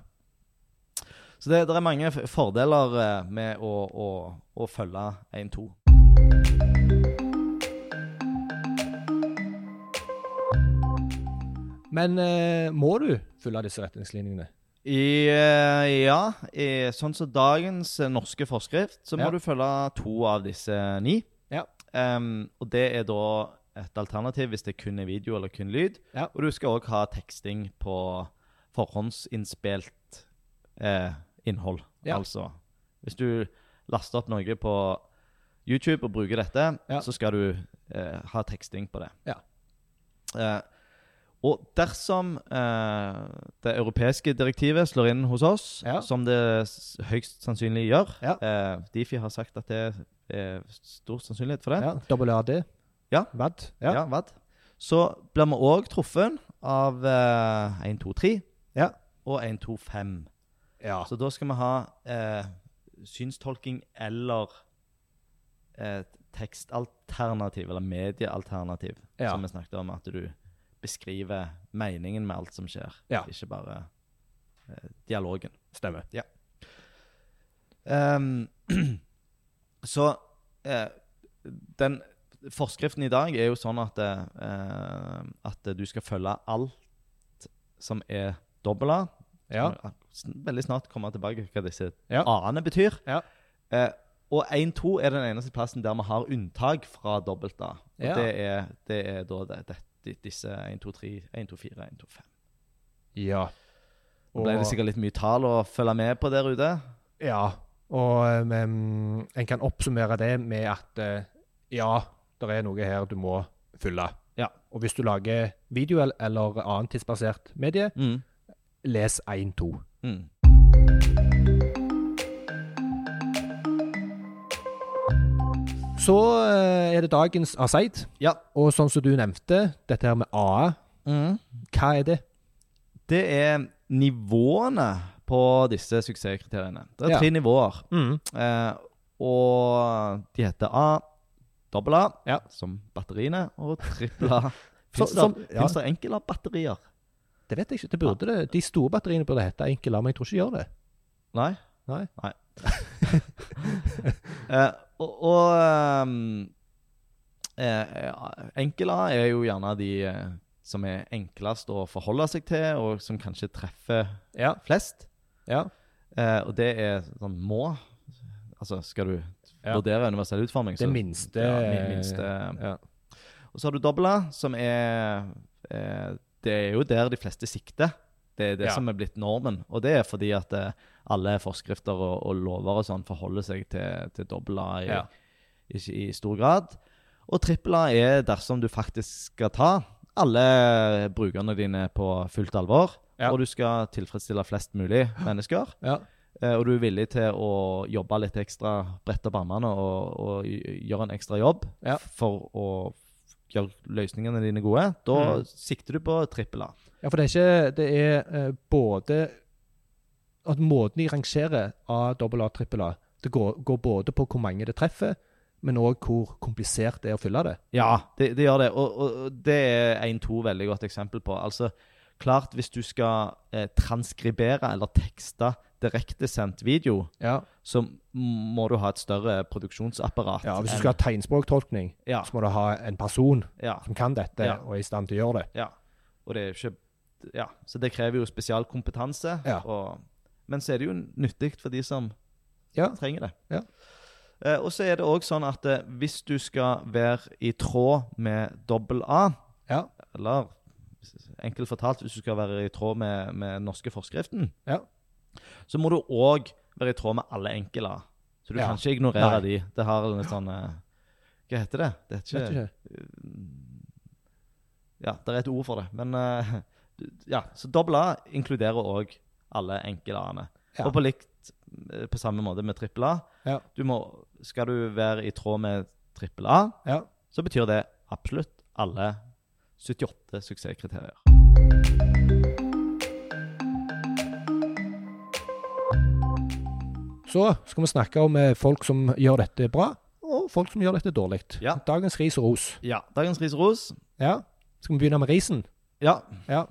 Speaker 1: Så det, det er mange f- fordeler eh, med å, å, å følge 1-2.
Speaker 2: Men eh, må du følge disse retningslinjene?
Speaker 1: I, eh, ja, i, sånn som dagens eh, norske forskrift, så må
Speaker 2: Ja.
Speaker 1: du følge to av disse ni.
Speaker 2: Ja.
Speaker 1: Ehm, og det er da et alternativ hvis det kun er video eller kun lyd.
Speaker 2: Ja.
Speaker 1: Og du skal òg ha teksting på forhåndsinnspilt eh, innhold.
Speaker 2: Ja.
Speaker 1: Altså hvis du laster opp noe på YouTube og bruker dette,
Speaker 2: Ja.
Speaker 1: så skal du eh, ha teksting på det.
Speaker 2: Ja.
Speaker 1: Eh, og dersom eh, det europeiske direktivet slår inn hos oss,
Speaker 2: Ja.
Speaker 1: som det s- høyst sannsynlig gjør
Speaker 2: Ja.
Speaker 1: eh, Difi har sagt at det er stor sannsynlighet for det.
Speaker 2: Ja. WAD?
Speaker 1: Ja.
Speaker 2: VAD?
Speaker 1: Ja,
Speaker 2: Ja.
Speaker 1: vad? Så blir vi òg truffet av eh, 1, 2, 3
Speaker 2: Ja.
Speaker 1: og 1, 2, 5.
Speaker 2: ja.
Speaker 1: Så da skal vi ha eh, synstolking eller eh, tekstalternativ, eller mediealternativ,
Speaker 2: Ja.
Speaker 1: som vi snakket om, at du beskriver meningen med alt som skjer,
Speaker 2: Ja.
Speaker 1: ikke bare eh, dialogen.
Speaker 2: Stemmer.
Speaker 1: Ehm, [clears throat] så eh, den forskriften i dag er jo sånn at, eh, at du skal følge alt som er dobbel A.
Speaker 2: Ja.
Speaker 1: Sn- Veldig snart komme tilbake hva disse
Speaker 2: Ja.
Speaker 1: a-ene betyr.
Speaker 2: Ja.
Speaker 1: Eh, og 1-2 er den eneste plassen der vi har unntak fra dobbelt A. Og
Speaker 2: Ja.
Speaker 1: det, er, det er da det, det, disse 1-2-3, 1-2-4, 1-2-5.
Speaker 2: ja.
Speaker 1: Nå ble det sikkert litt mye tall å følge med på der ute.
Speaker 2: Ja, og um, em, en kan oppsummere det med at eh, ja, det er noe her du må fylle.
Speaker 1: Ja.
Speaker 2: Og hvis du lager video el- eller annet tidsbasert medie,
Speaker 1: Mm.
Speaker 2: les 1-2.
Speaker 1: Mm.
Speaker 2: Så eh, er det dagens Aseid.
Speaker 1: Ja.
Speaker 2: Og sånn som du nevnte, dette her med AA,
Speaker 1: Mm.
Speaker 2: hva er det?
Speaker 1: Det er nivåene på disse suksesskriteriene. Det er
Speaker 2: Ja.
Speaker 1: tre nivåer.
Speaker 2: Mm.
Speaker 1: Eh, og de heter A, dobbel A,
Speaker 2: Ja.
Speaker 1: som batteriene, og trippel A.
Speaker 2: Så-
Speaker 1: Fins
Speaker 2: [laughs] som-
Speaker 1: det,
Speaker 2: ja.
Speaker 1: finnes det enkle batterier?
Speaker 2: Det vet jeg ikke. Det burde det. De store batteriene burde hete enkelt, men jeg tror ikke de gjør det.
Speaker 1: Nei?
Speaker 2: Nei.
Speaker 1: Eh, og og ehm, eh, enkel A er jo gjerne de eh, som er enklest å forholde seg til, og som kanskje treffer
Speaker 2: Ja.
Speaker 1: flest.
Speaker 2: Ja.
Speaker 1: Eh, og det er sånn må. Altså, skal du
Speaker 2: Ja.
Speaker 1: vurdere universell utforming,
Speaker 2: Det minste.
Speaker 1: ja, min- minste.
Speaker 2: Ja.
Speaker 1: Og så har du dobbel A, som er eh, Det er jo der de fleste sikter. Det er det
Speaker 2: Ja.
Speaker 1: som er blitt normen. Og det er fordi at eh, alle forskrifter og, og lover og sånn forholder seg til, til dobbel A i,
Speaker 2: Ja.
Speaker 1: i, i stor grad. Og trippel A er dersom du faktisk skal ta alle brukerne dine på fullt alvor,
Speaker 2: Ja.
Speaker 1: og du skal tilfredsstille flest mulig mennesker.
Speaker 2: Ja.
Speaker 1: Eh, og du er villig til å jobbe litt ekstra, brette opp armene og, og gj- gjøre en ekstra jobb
Speaker 2: Ja.
Speaker 1: for å gjøre løsningene dine gode, da
Speaker 2: Mm.
Speaker 1: sikter du på trippel A.
Speaker 2: Ja, for det er ikke Det er eh, både at Måten de rangerer A, AA, AAA Det går, går både på hvor mange det treffer, men òg hvor komplisert det er å fylle det.
Speaker 1: Ja, det, det gjør det. Og, og, og det er 1-2 veldig godt eksempel på. Altså, klart hvis du skal eh, transkribere eller tekste direktesendt video,
Speaker 2: Ja,
Speaker 1: så må du ha et større produksjonsapparat.
Speaker 2: Hvis du
Speaker 1: enn-
Speaker 2: skal ha tegnspråktolkning,
Speaker 1: Ja,
Speaker 2: så må du ha en person
Speaker 1: ja.
Speaker 2: som kan dette
Speaker 1: Ja.
Speaker 2: og er i stand til å gjøre det.
Speaker 1: Ja. Og det er jo ikke Ja, så det krever jo spesialkompetanse.
Speaker 2: Ja.
Speaker 1: Og, men så er det jo nyttig for de som
Speaker 2: Ja.
Speaker 1: trenger det.
Speaker 2: Ja.
Speaker 1: Eh, og så er det òg sånn at eh, hvis du skal være i tråd med dobbel A,
Speaker 2: Ja.
Speaker 1: eller enkelt fortalt hvis du skal være i tråd med, med den norske forskriften,
Speaker 2: Ja.
Speaker 1: så må du òg være i tråd med alle enkel A. Så du
Speaker 2: Ja.
Speaker 1: kan ikke ignorere
Speaker 2: Nei.
Speaker 1: de. Det har en sånn eh, Hva heter det? Det heter
Speaker 2: Vet
Speaker 1: ikke,
Speaker 2: du ikke?
Speaker 1: ja, det er et ord for det. Men eh, [laughs] ja, så dobbel A inkluderer òg alle enkel A-ene.
Speaker 2: Ja.
Speaker 1: Og på likt eh, på samme måte med trippel A.
Speaker 2: Ja.
Speaker 1: Du må- Skal du være i tråd med trippel A,
Speaker 2: Ja.
Speaker 1: så betyr det absolutt alle 78 suksesskriterier.
Speaker 2: Så skal vi snakke om eh, folk som gjør dette bra, og folk som gjør dette dårlig.
Speaker 1: Ja.
Speaker 2: Dagens ris og ros.
Speaker 1: Ja. Dagens ris og ros.
Speaker 2: Ja. Skal vi begynne med risen?
Speaker 1: Ja,
Speaker 2: Ja.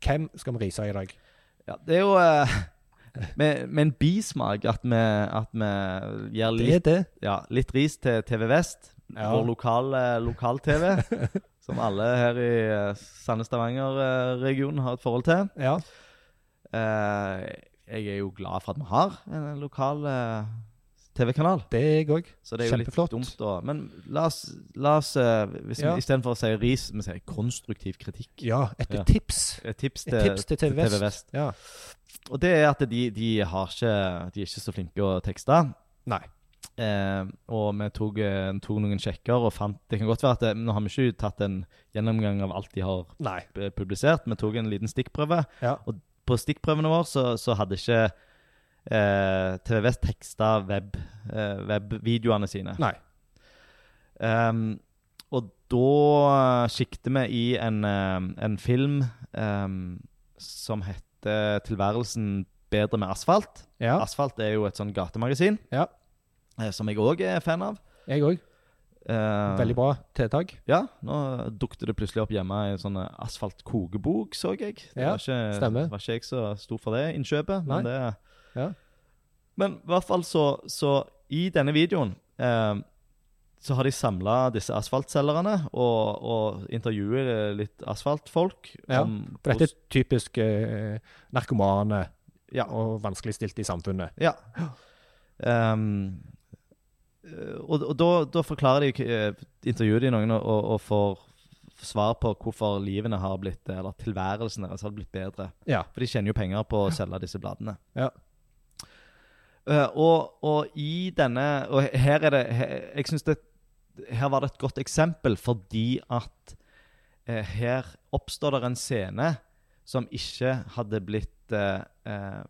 Speaker 2: Hvem skal vi rise i dag?
Speaker 1: ja det er jo eh, [laughs] med, med en bismak at vi, at vi gir
Speaker 2: Det
Speaker 1: litt,
Speaker 2: er det.
Speaker 1: ja, litt ris til TV Vest,
Speaker 2: Ja.
Speaker 1: vår lokale lokal-TV,
Speaker 2: [laughs]
Speaker 1: som alle her i eh, Sandnes-Stavanger-regionen har et forhold til.
Speaker 2: Ja.
Speaker 1: Eh, jeg er jo glad for at vi har en lokal eh, TV-kanal.
Speaker 2: Det er jeg òg.
Speaker 1: Så det er jo
Speaker 2: Kjempeflott.
Speaker 1: litt dumt da. Men la oss, la oss eh, hvis
Speaker 2: Ja.
Speaker 1: vi, istedenfor å si ris, vi sier konstruktiv kritikk.
Speaker 2: Ja, et
Speaker 1: Ja.
Speaker 2: tips.
Speaker 1: Et tips
Speaker 2: Et
Speaker 1: til,
Speaker 2: tips til TV Vest. Ja.
Speaker 1: Og det er at de, de, har ikke, de er ikke så flinke å tekste.
Speaker 2: Nei.
Speaker 1: Eh, og vi tok, eh, tok noen sjekker og fant Det kan godt være at det, Nå har vi ikke tatt en gjennomgang av alt de har
Speaker 2: Nei.
Speaker 1: eh, publisert. Vi tok en liten stikkprøve.
Speaker 2: Ja.
Speaker 1: Og på stikkprøvene våre så, så hadde ikke eh, TV Vest teksta web, eh, webvideoene sine.
Speaker 2: Nei.
Speaker 1: Ehm, og da sikter vi i en, ehm, en film ehm, som heter 'Tilværelsen bedre med asfalt'.
Speaker 2: Ja.
Speaker 1: Asfalt er jo et sånn gatemagasin
Speaker 2: Ja.
Speaker 1: eh, som jeg òg er fan av.
Speaker 2: Jeg òg.
Speaker 1: Eh,
Speaker 2: Veldig bra tiltak.
Speaker 1: Ja, nå dukte det plutselig opp hjemme i en sånn eh, asfaltkokebok, så jeg. Det
Speaker 2: Ja,
Speaker 1: var ikke,
Speaker 2: stemmer.
Speaker 1: var ikke jeg så stor for det innkjøpet, men det
Speaker 2: Ja.
Speaker 1: Men i hvert fall så, så i denne videoen eh, så har de samla disse asfaltselgerne og, og intervjuer eh, litt asfaltfolk.
Speaker 2: Ja,
Speaker 1: om
Speaker 2: For dette er typisk eh, narkomane
Speaker 1: hvordan- ja,
Speaker 2: og vanskeligstilte i samfunnet.
Speaker 1: ja. Ehm, eh, og og da, da forklarer de, eh, intervjuer de noen og, og- og får svar på hvorfor livene har blitt, eller tilværelsen deres har blitt bedre.
Speaker 2: Ja.
Speaker 1: For de tjener jo penger på å selge disse bladene.
Speaker 2: Ja.
Speaker 1: Eh, og, og i denne Og her er det he- Jeg synes det Her var det et godt eksempel fordi at eh, her oppstår det en scene som ikke hadde blitt eh, eh,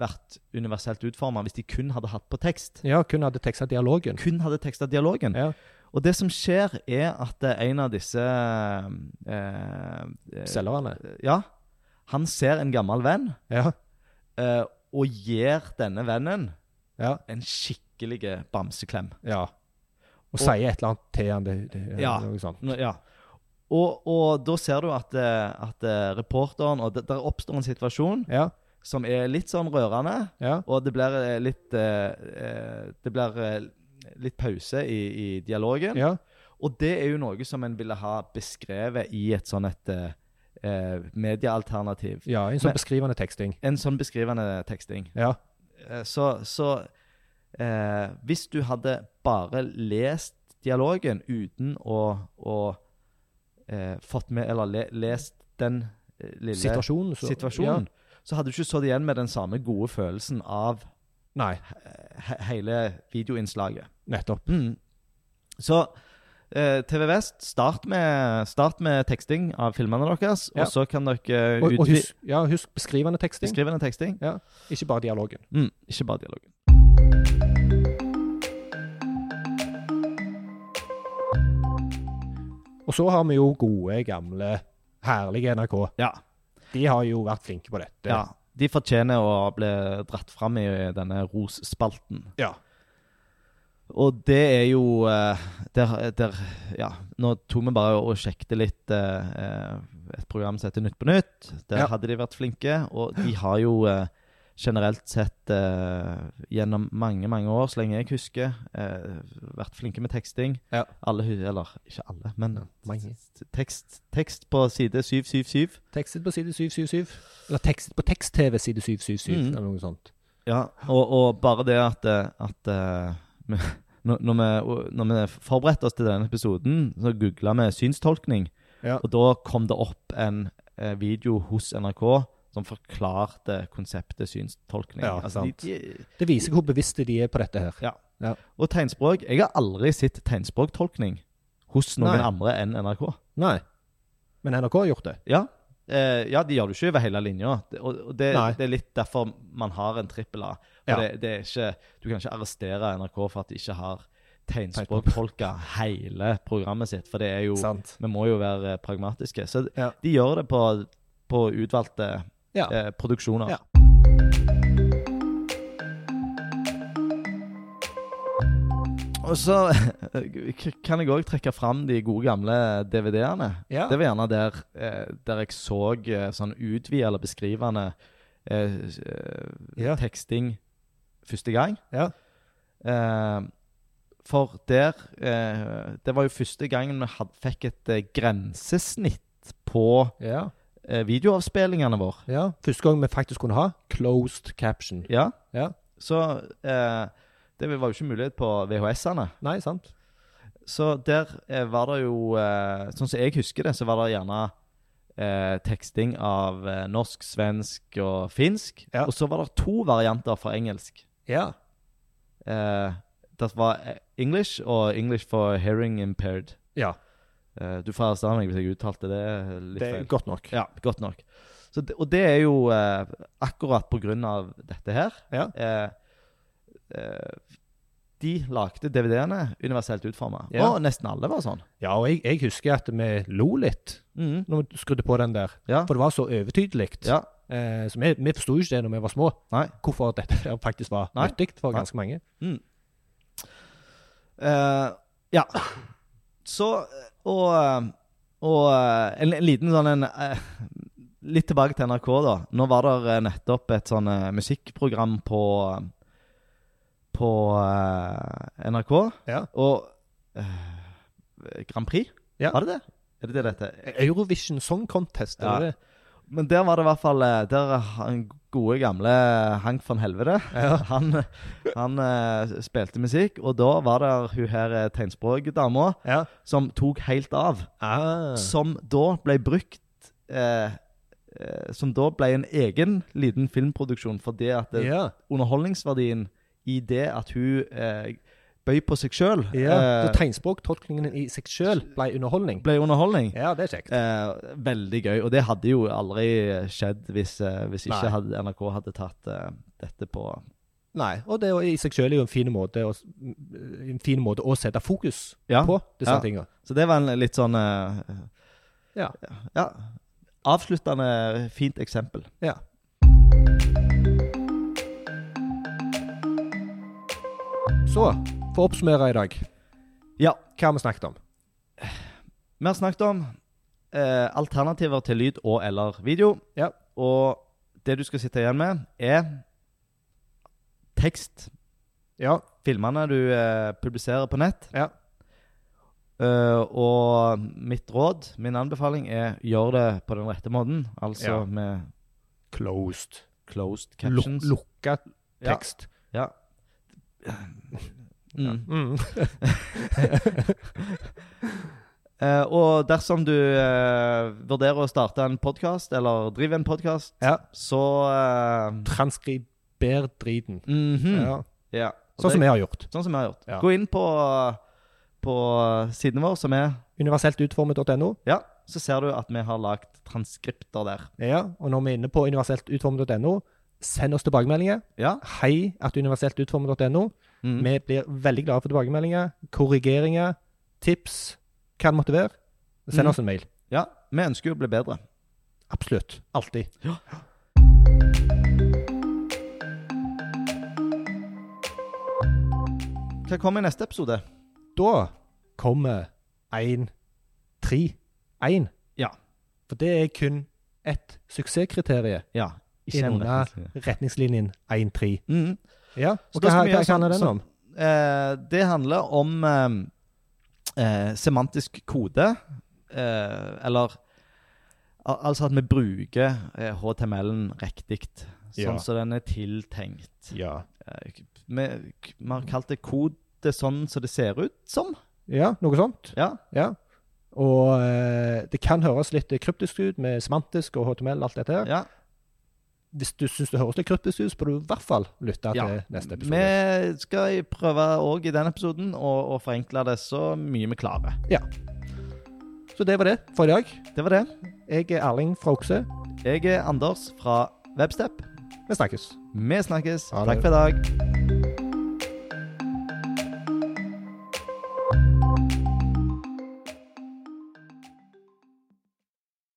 Speaker 1: vært universelt utforma hvis de kun hadde hatt på tekst.
Speaker 2: Ja, kun hadde teksta dialogen.
Speaker 1: Kun hadde teksta dialogen.
Speaker 2: Ja.
Speaker 1: Og det som skjer, er at eh, en av disse eh, eh,
Speaker 2: Selgerne.
Speaker 1: Ja. Han ser en gammel venn
Speaker 2: Ja.
Speaker 1: eh, og gir denne vennen
Speaker 2: Ja.
Speaker 1: en skikkelig bamseklem.
Speaker 2: ja. Og, sier et eller annet til han. Det, det,
Speaker 1: Ja.
Speaker 2: Noe sånt.
Speaker 1: Nå- Ja. Og, og da ser du at, eh, at eh, reporteren Og det- der oppstår en situasjon
Speaker 2: Ja.
Speaker 1: som er litt sånn rørende,
Speaker 2: Ja.
Speaker 1: og det blir eh, litt eh, eh, Det blir eh, litt pause i, i dialogen.
Speaker 2: Ja.
Speaker 1: Og det er jo noe som en ville ha beskrevet i et sånn et eh, eh, mediealternativ.
Speaker 2: ja. En
Speaker 1: Men-
Speaker 2: sånn beskrivende teksting.
Speaker 1: En sånn beskrivende teksting.
Speaker 2: Ja.
Speaker 1: Eh, Så, så eh, hvis du hadde bare lest dialogen uten å, å eh, fått med Eller le, lest den eh, lille
Speaker 2: Situasjonen. så-
Speaker 1: situasjonen,
Speaker 2: Ja.
Speaker 1: så hadde du ikke stått igjen med den samme gode følelsen av eh,
Speaker 2: Nei.
Speaker 1: he hele videoinnslaget.
Speaker 2: Nettopp.
Speaker 1: Mm. Så eh, TV Vest, start med, start med teksting av filmene deres,
Speaker 2: Ja.
Speaker 1: og så kan dere
Speaker 2: Og, og
Speaker 1: utvi-
Speaker 2: husk, ja, husk beskrivende teksting,
Speaker 1: skrive den teksting.
Speaker 2: ikke bare dialogen.
Speaker 1: Mm, ikke bare dialogen.
Speaker 2: Og så har vi jo gode, gamle, herlige NRK.
Speaker 1: Ja.
Speaker 2: De har jo vært flinke på dette.
Speaker 1: Ja, de fortjener å bli dratt fram i denne rosspalten.
Speaker 2: Ja.
Speaker 1: Og det er jo eh, der, der Ja, nå tok vi bare og sjekket litt eh, eh, et program som heter Nytt på nytt. Der
Speaker 2: Ja.
Speaker 1: hadde de vært flinke, og de har jo eh, generelt sett eh, gjennom mange, mange år, så lenge jeg husker, eh, vært flinke med teksting.
Speaker 2: Ja.
Speaker 1: Alle hu- Eller ikke alle, men
Speaker 2: Mange.
Speaker 1: tekst, tekst på side 777.
Speaker 2: Tekstet på side 777. Eller tekstet på tekst-TV side 777,
Speaker 1: Mm.
Speaker 2: eller noe sånt.
Speaker 1: Ja, og, og bare det at, eh, at eh, [laughs] vi- når, når, vi, når vi forberedte oss til denne episoden, så googla vi synstolkning.
Speaker 2: Ja.
Speaker 1: Og da kom det opp en eh, video hos NRK som forklarte konseptet synstolkning. Altså,
Speaker 2: Ja, sant.
Speaker 1: De, de,
Speaker 2: Det viser hvor bevisste de er på dette her.
Speaker 1: og tegnspråk. Jeg har aldri sett tegnspråktolkning hos noen
Speaker 2: Nei.
Speaker 1: andre enn NRK.
Speaker 2: Nei. Men NRK har gjort det.
Speaker 1: Ja, eh, ja de gjør det ikke over hele linja. Det- Og, og det,
Speaker 2: Nei.
Speaker 1: det er litt derfor man har en trippel A. For
Speaker 2: Ja.
Speaker 1: det, det er ikke, du kan ikke arrestere NRK for at de ikke har tegnspråktolka hele programmet sitt. For det er jo
Speaker 2: Sant.
Speaker 1: Vi må jo være eh, pragmatiske. Så
Speaker 2: Ja.
Speaker 1: de gjør det på, på utvalgte
Speaker 2: Ja.
Speaker 1: eh, produksjoner.
Speaker 2: Ja.
Speaker 1: Og så [laughs] k- kan jeg òg trekke fram de gode gamle DVD-ene.
Speaker 2: Ja.
Speaker 1: Det var gjerne der, eh, der jeg så eh, sånn utvide eller beskrivende eh, s- eh,
Speaker 2: Ja.
Speaker 1: teksting første gang.
Speaker 2: Ja.
Speaker 1: Eh, for der eh, Det var jo første gangen vi had, fikk et eh, grensesnitt på
Speaker 2: ja.
Speaker 1: eh, videoavspillingene våre.
Speaker 2: ja. Første gang vi faktisk kunne ha closed caption.
Speaker 1: Ja.
Speaker 2: Ja.
Speaker 1: Så eh, det var jo ikke mulighet på VHS-ene.
Speaker 2: Nei, sant?
Speaker 1: Så der eh, var det jo eh, Sånn som jeg husker det, så var det gjerne eh, teksting av eh, norsk, svensk og finsk.
Speaker 2: Ja.
Speaker 1: Og så var det to varianter for engelsk.
Speaker 2: Ja.
Speaker 1: Eh, det var eh, English og English for hearing impaired.
Speaker 2: Ja,
Speaker 1: Eh, du får avstå meg hvis jeg uttalte det litt
Speaker 2: det er
Speaker 1: feil.
Speaker 2: godt nok.
Speaker 1: Ja, godt nok. Så det, og det er jo eh, akkurat på grunn av dette her.
Speaker 2: Ja.
Speaker 1: Eh, eh, de lagde DVD-ene universelt utforma.
Speaker 2: Ja.
Speaker 1: Og nesten alle var sånn.
Speaker 2: Ja, og jeg, jeg husker at vi lo litt
Speaker 1: Mhm.
Speaker 2: når vi skrudde på den der.
Speaker 1: Ja.
Speaker 2: For det var så overtydelig.
Speaker 1: Ja.
Speaker 2: Eh, så vi, vi forsto jo ikke det når vi var små,
Speaker 1: Nei.
Speaker 2: hvorfor dette der faktisk var
Speaker 1: Nei.
Speaker 2: nyttig for
Speaker 1: Nei.
Speaker 2: ganske mange.
Speaker 1: Eh, ja. Så Og, og eh, en, en liten sånn en eh, Litt tilbake til NRK, da. Nå var det nettopp et sånn eh, musikkprogram på På eh, NRK.
Speaker 2: Ja.
Speaker 1: Og eh, Grand Prix?
Speaker 2: Ja.
Speaker 1: Var det det? Er det det dette?
Speaker 2: E- Eurovision Song Contest,
Speaker 1: Ja.
Speaker 2: er det det?
Speaker 1: Men der var det i hvert fall eh, Der er han gode gamle Hank von Helvete
Speaker 2: Ja.
Speaker 1: [laughs] Han, han eh, spilte musikk, og da var det hun her eh, tegnspråkdama
Speaker 2: Ja.
Speaker 1: som tok helt av.
Speaker 2: Ah.
Speaker 1: Som da ble brukt eh, eh, Som da ble en egen liten filmproduksjon, fordi at eh,
Speaker 2: ja.
Speaker 1: underholdningsverdien i det at hun eh, bøy på seg sjøl,
Speaker 2: ja. Så tegnspråktolkningen i seg sjøl ble underholdning.
Speaker 1: ble underholdning.
Speaker 2: Ja, det er kjekt.
Speaker 1: Eh, veldig gøy. Og det hadde jo aldri skjedd hvis, eh, hvis
Speaker 2: Nei.
Speaker 1: ikke hadde, NRK hadde tatt eh, dette på
Speaker 2: Nei, og det er jo i seg sjøl en fin måte å, en fin måte å sette fokus
Speaker 1: Ja,
Speaker 2: på disse
Speaker 1: ja.
Speaker 2: tinga.
Speaker 1: Så det var en litt sånn eh,
Speaker 2: Ja.
Speaker 1: ja, avsluttende fint eksempel.
Speaker 2: Ja. Så, for å oppsummere i dag,
Speaker 1: Ja,
Speaker 2: hva har vi snakket om?
Speaker 1: vi har snakket om eh, alternativer til lyd og eller video.
Speaker 2: Ja.
Speaker 1: Og det du skal sitte igjen med, er tekst.
Speaker 2: Ja,
Speaker 1: Filmene du eh, publiserer på nett.
Speaker 2: Ja.
Speaker 1: Eh, og mitt råd, min anbefaling, er gjør det på den rette måten. Altså
Speaker 2: Ja.
Speaker 1: med
Speaker 2: closed.
Speaker 1: closed
Speaker 2: Luk
Speaker 1: captions.
Speaker 2: lukka
Speaker 1: Ja.
Speaker 2: tekst.
Speaker 1: Ja. Mm.
Speaker 2: Mm.
Speaker 1: Eh, og dersom du eh, vurderer å starte en podkast, eller driver en podkast,
Speaker 2: Ja.
Speaker 1: så eh,
Speaker 2: Transkriber driten.
Speaker 1: mhm.
Speaker 2: Ja.
Speaker 1: Ja. Og
Speaker 2: Sånn
Speaker 1: det-
Speaker 2: som vi har gjort.
Speaker 1: sånn som jeg har gjort.
Speaker 2: Ja.
Speaker 1: Gå inn på, på siden vår, som er
Speaker 2: Universeltutformet.no.
Speaker 1: Ja, så ser du at vi har lagd transkripter der.
Speaker 2: Ja, og når vi er inne på universeltutformet.no, send oss tilbakemeldinger.
Speaker 1: Ja.
Speaker 2: Hei at universeltutformet.no.
Speaker 1: Mm.
Speaker 2: Vi blir veldig glade for tilbakemeldinger, korrigeringer, tips, hva det måtte være. Send
Speaker 1: Mhm.
Speaker 2: oss en mail.
Speaker 1: ja. Vi ønsker jo å bli bedre.
Speaker 2: Absolutt. Alltid.
Speaker 1: Hva kommer i neste episode?
Speaker 2: Da kommer 1, 3, 1.
Speaker 1: Ja.
Speaker 2: For det er kun ett suksesskriterium
Speaker 1: Ja.
Speaker 2: Innunder.
Speaker 1: retningslinje.
Speaker 2: retningslinjen 1, 3.
Speaker 1: Mm.
Speaker 2: Ja,
Speaker 1: altså. Så
Speaker 2: og
Speaker 1: da
Speaker 2: hva,
Speaker 1: skal vi
Speaker 2: hva,
Speaker 1: gjøre
Speaker 2: hva handler
Speaker 1: sånn-
Speaker 2: den om?
Speaker 1: Eh, det handler om eh, eh, semantisk kode. Eh, eller al Altså at vi bruker eh, HTML-en riktig, sånn
Speaker 2: Ja.
Speaker 1: som den er tiltenkt.
Speaker 2: Ja.
Speaker 1: Eh, k- vi, k- vi har kalt det kode sånn som det ser ut som.
Speaker 2: ja, noe sånt.
Speaker 1: Ja.
Speaker 2: Ja. Og eh, det kan høres litt kryptisk ut med semantisk og HTML og alt dette her.
Speaker 1: ja.
Speaker 2: Hvis du syns det høres litt kryptisk ut, så bør du i hvert fall lytte
Speaker 1: Ja.
Speaker 2: til neste episode.
Speaker 1: Vi skal prøve òg i den episoden å, å forenkle det så mye vi klarer.
Speaker 2: Så det var det for i dag.
Speaker 1: Det var det.
Speaker 2: Jeg er Erling fra Okse.
Speaker 1: Jeg er Anders fra Webstep.
Speaker 2: Vi snakkes.
Speaker 1: Vi snakkes.
Speaker 2: Ha
Speaker 1: Takk
Speaker 2: det.
Speaker 1: for i dag.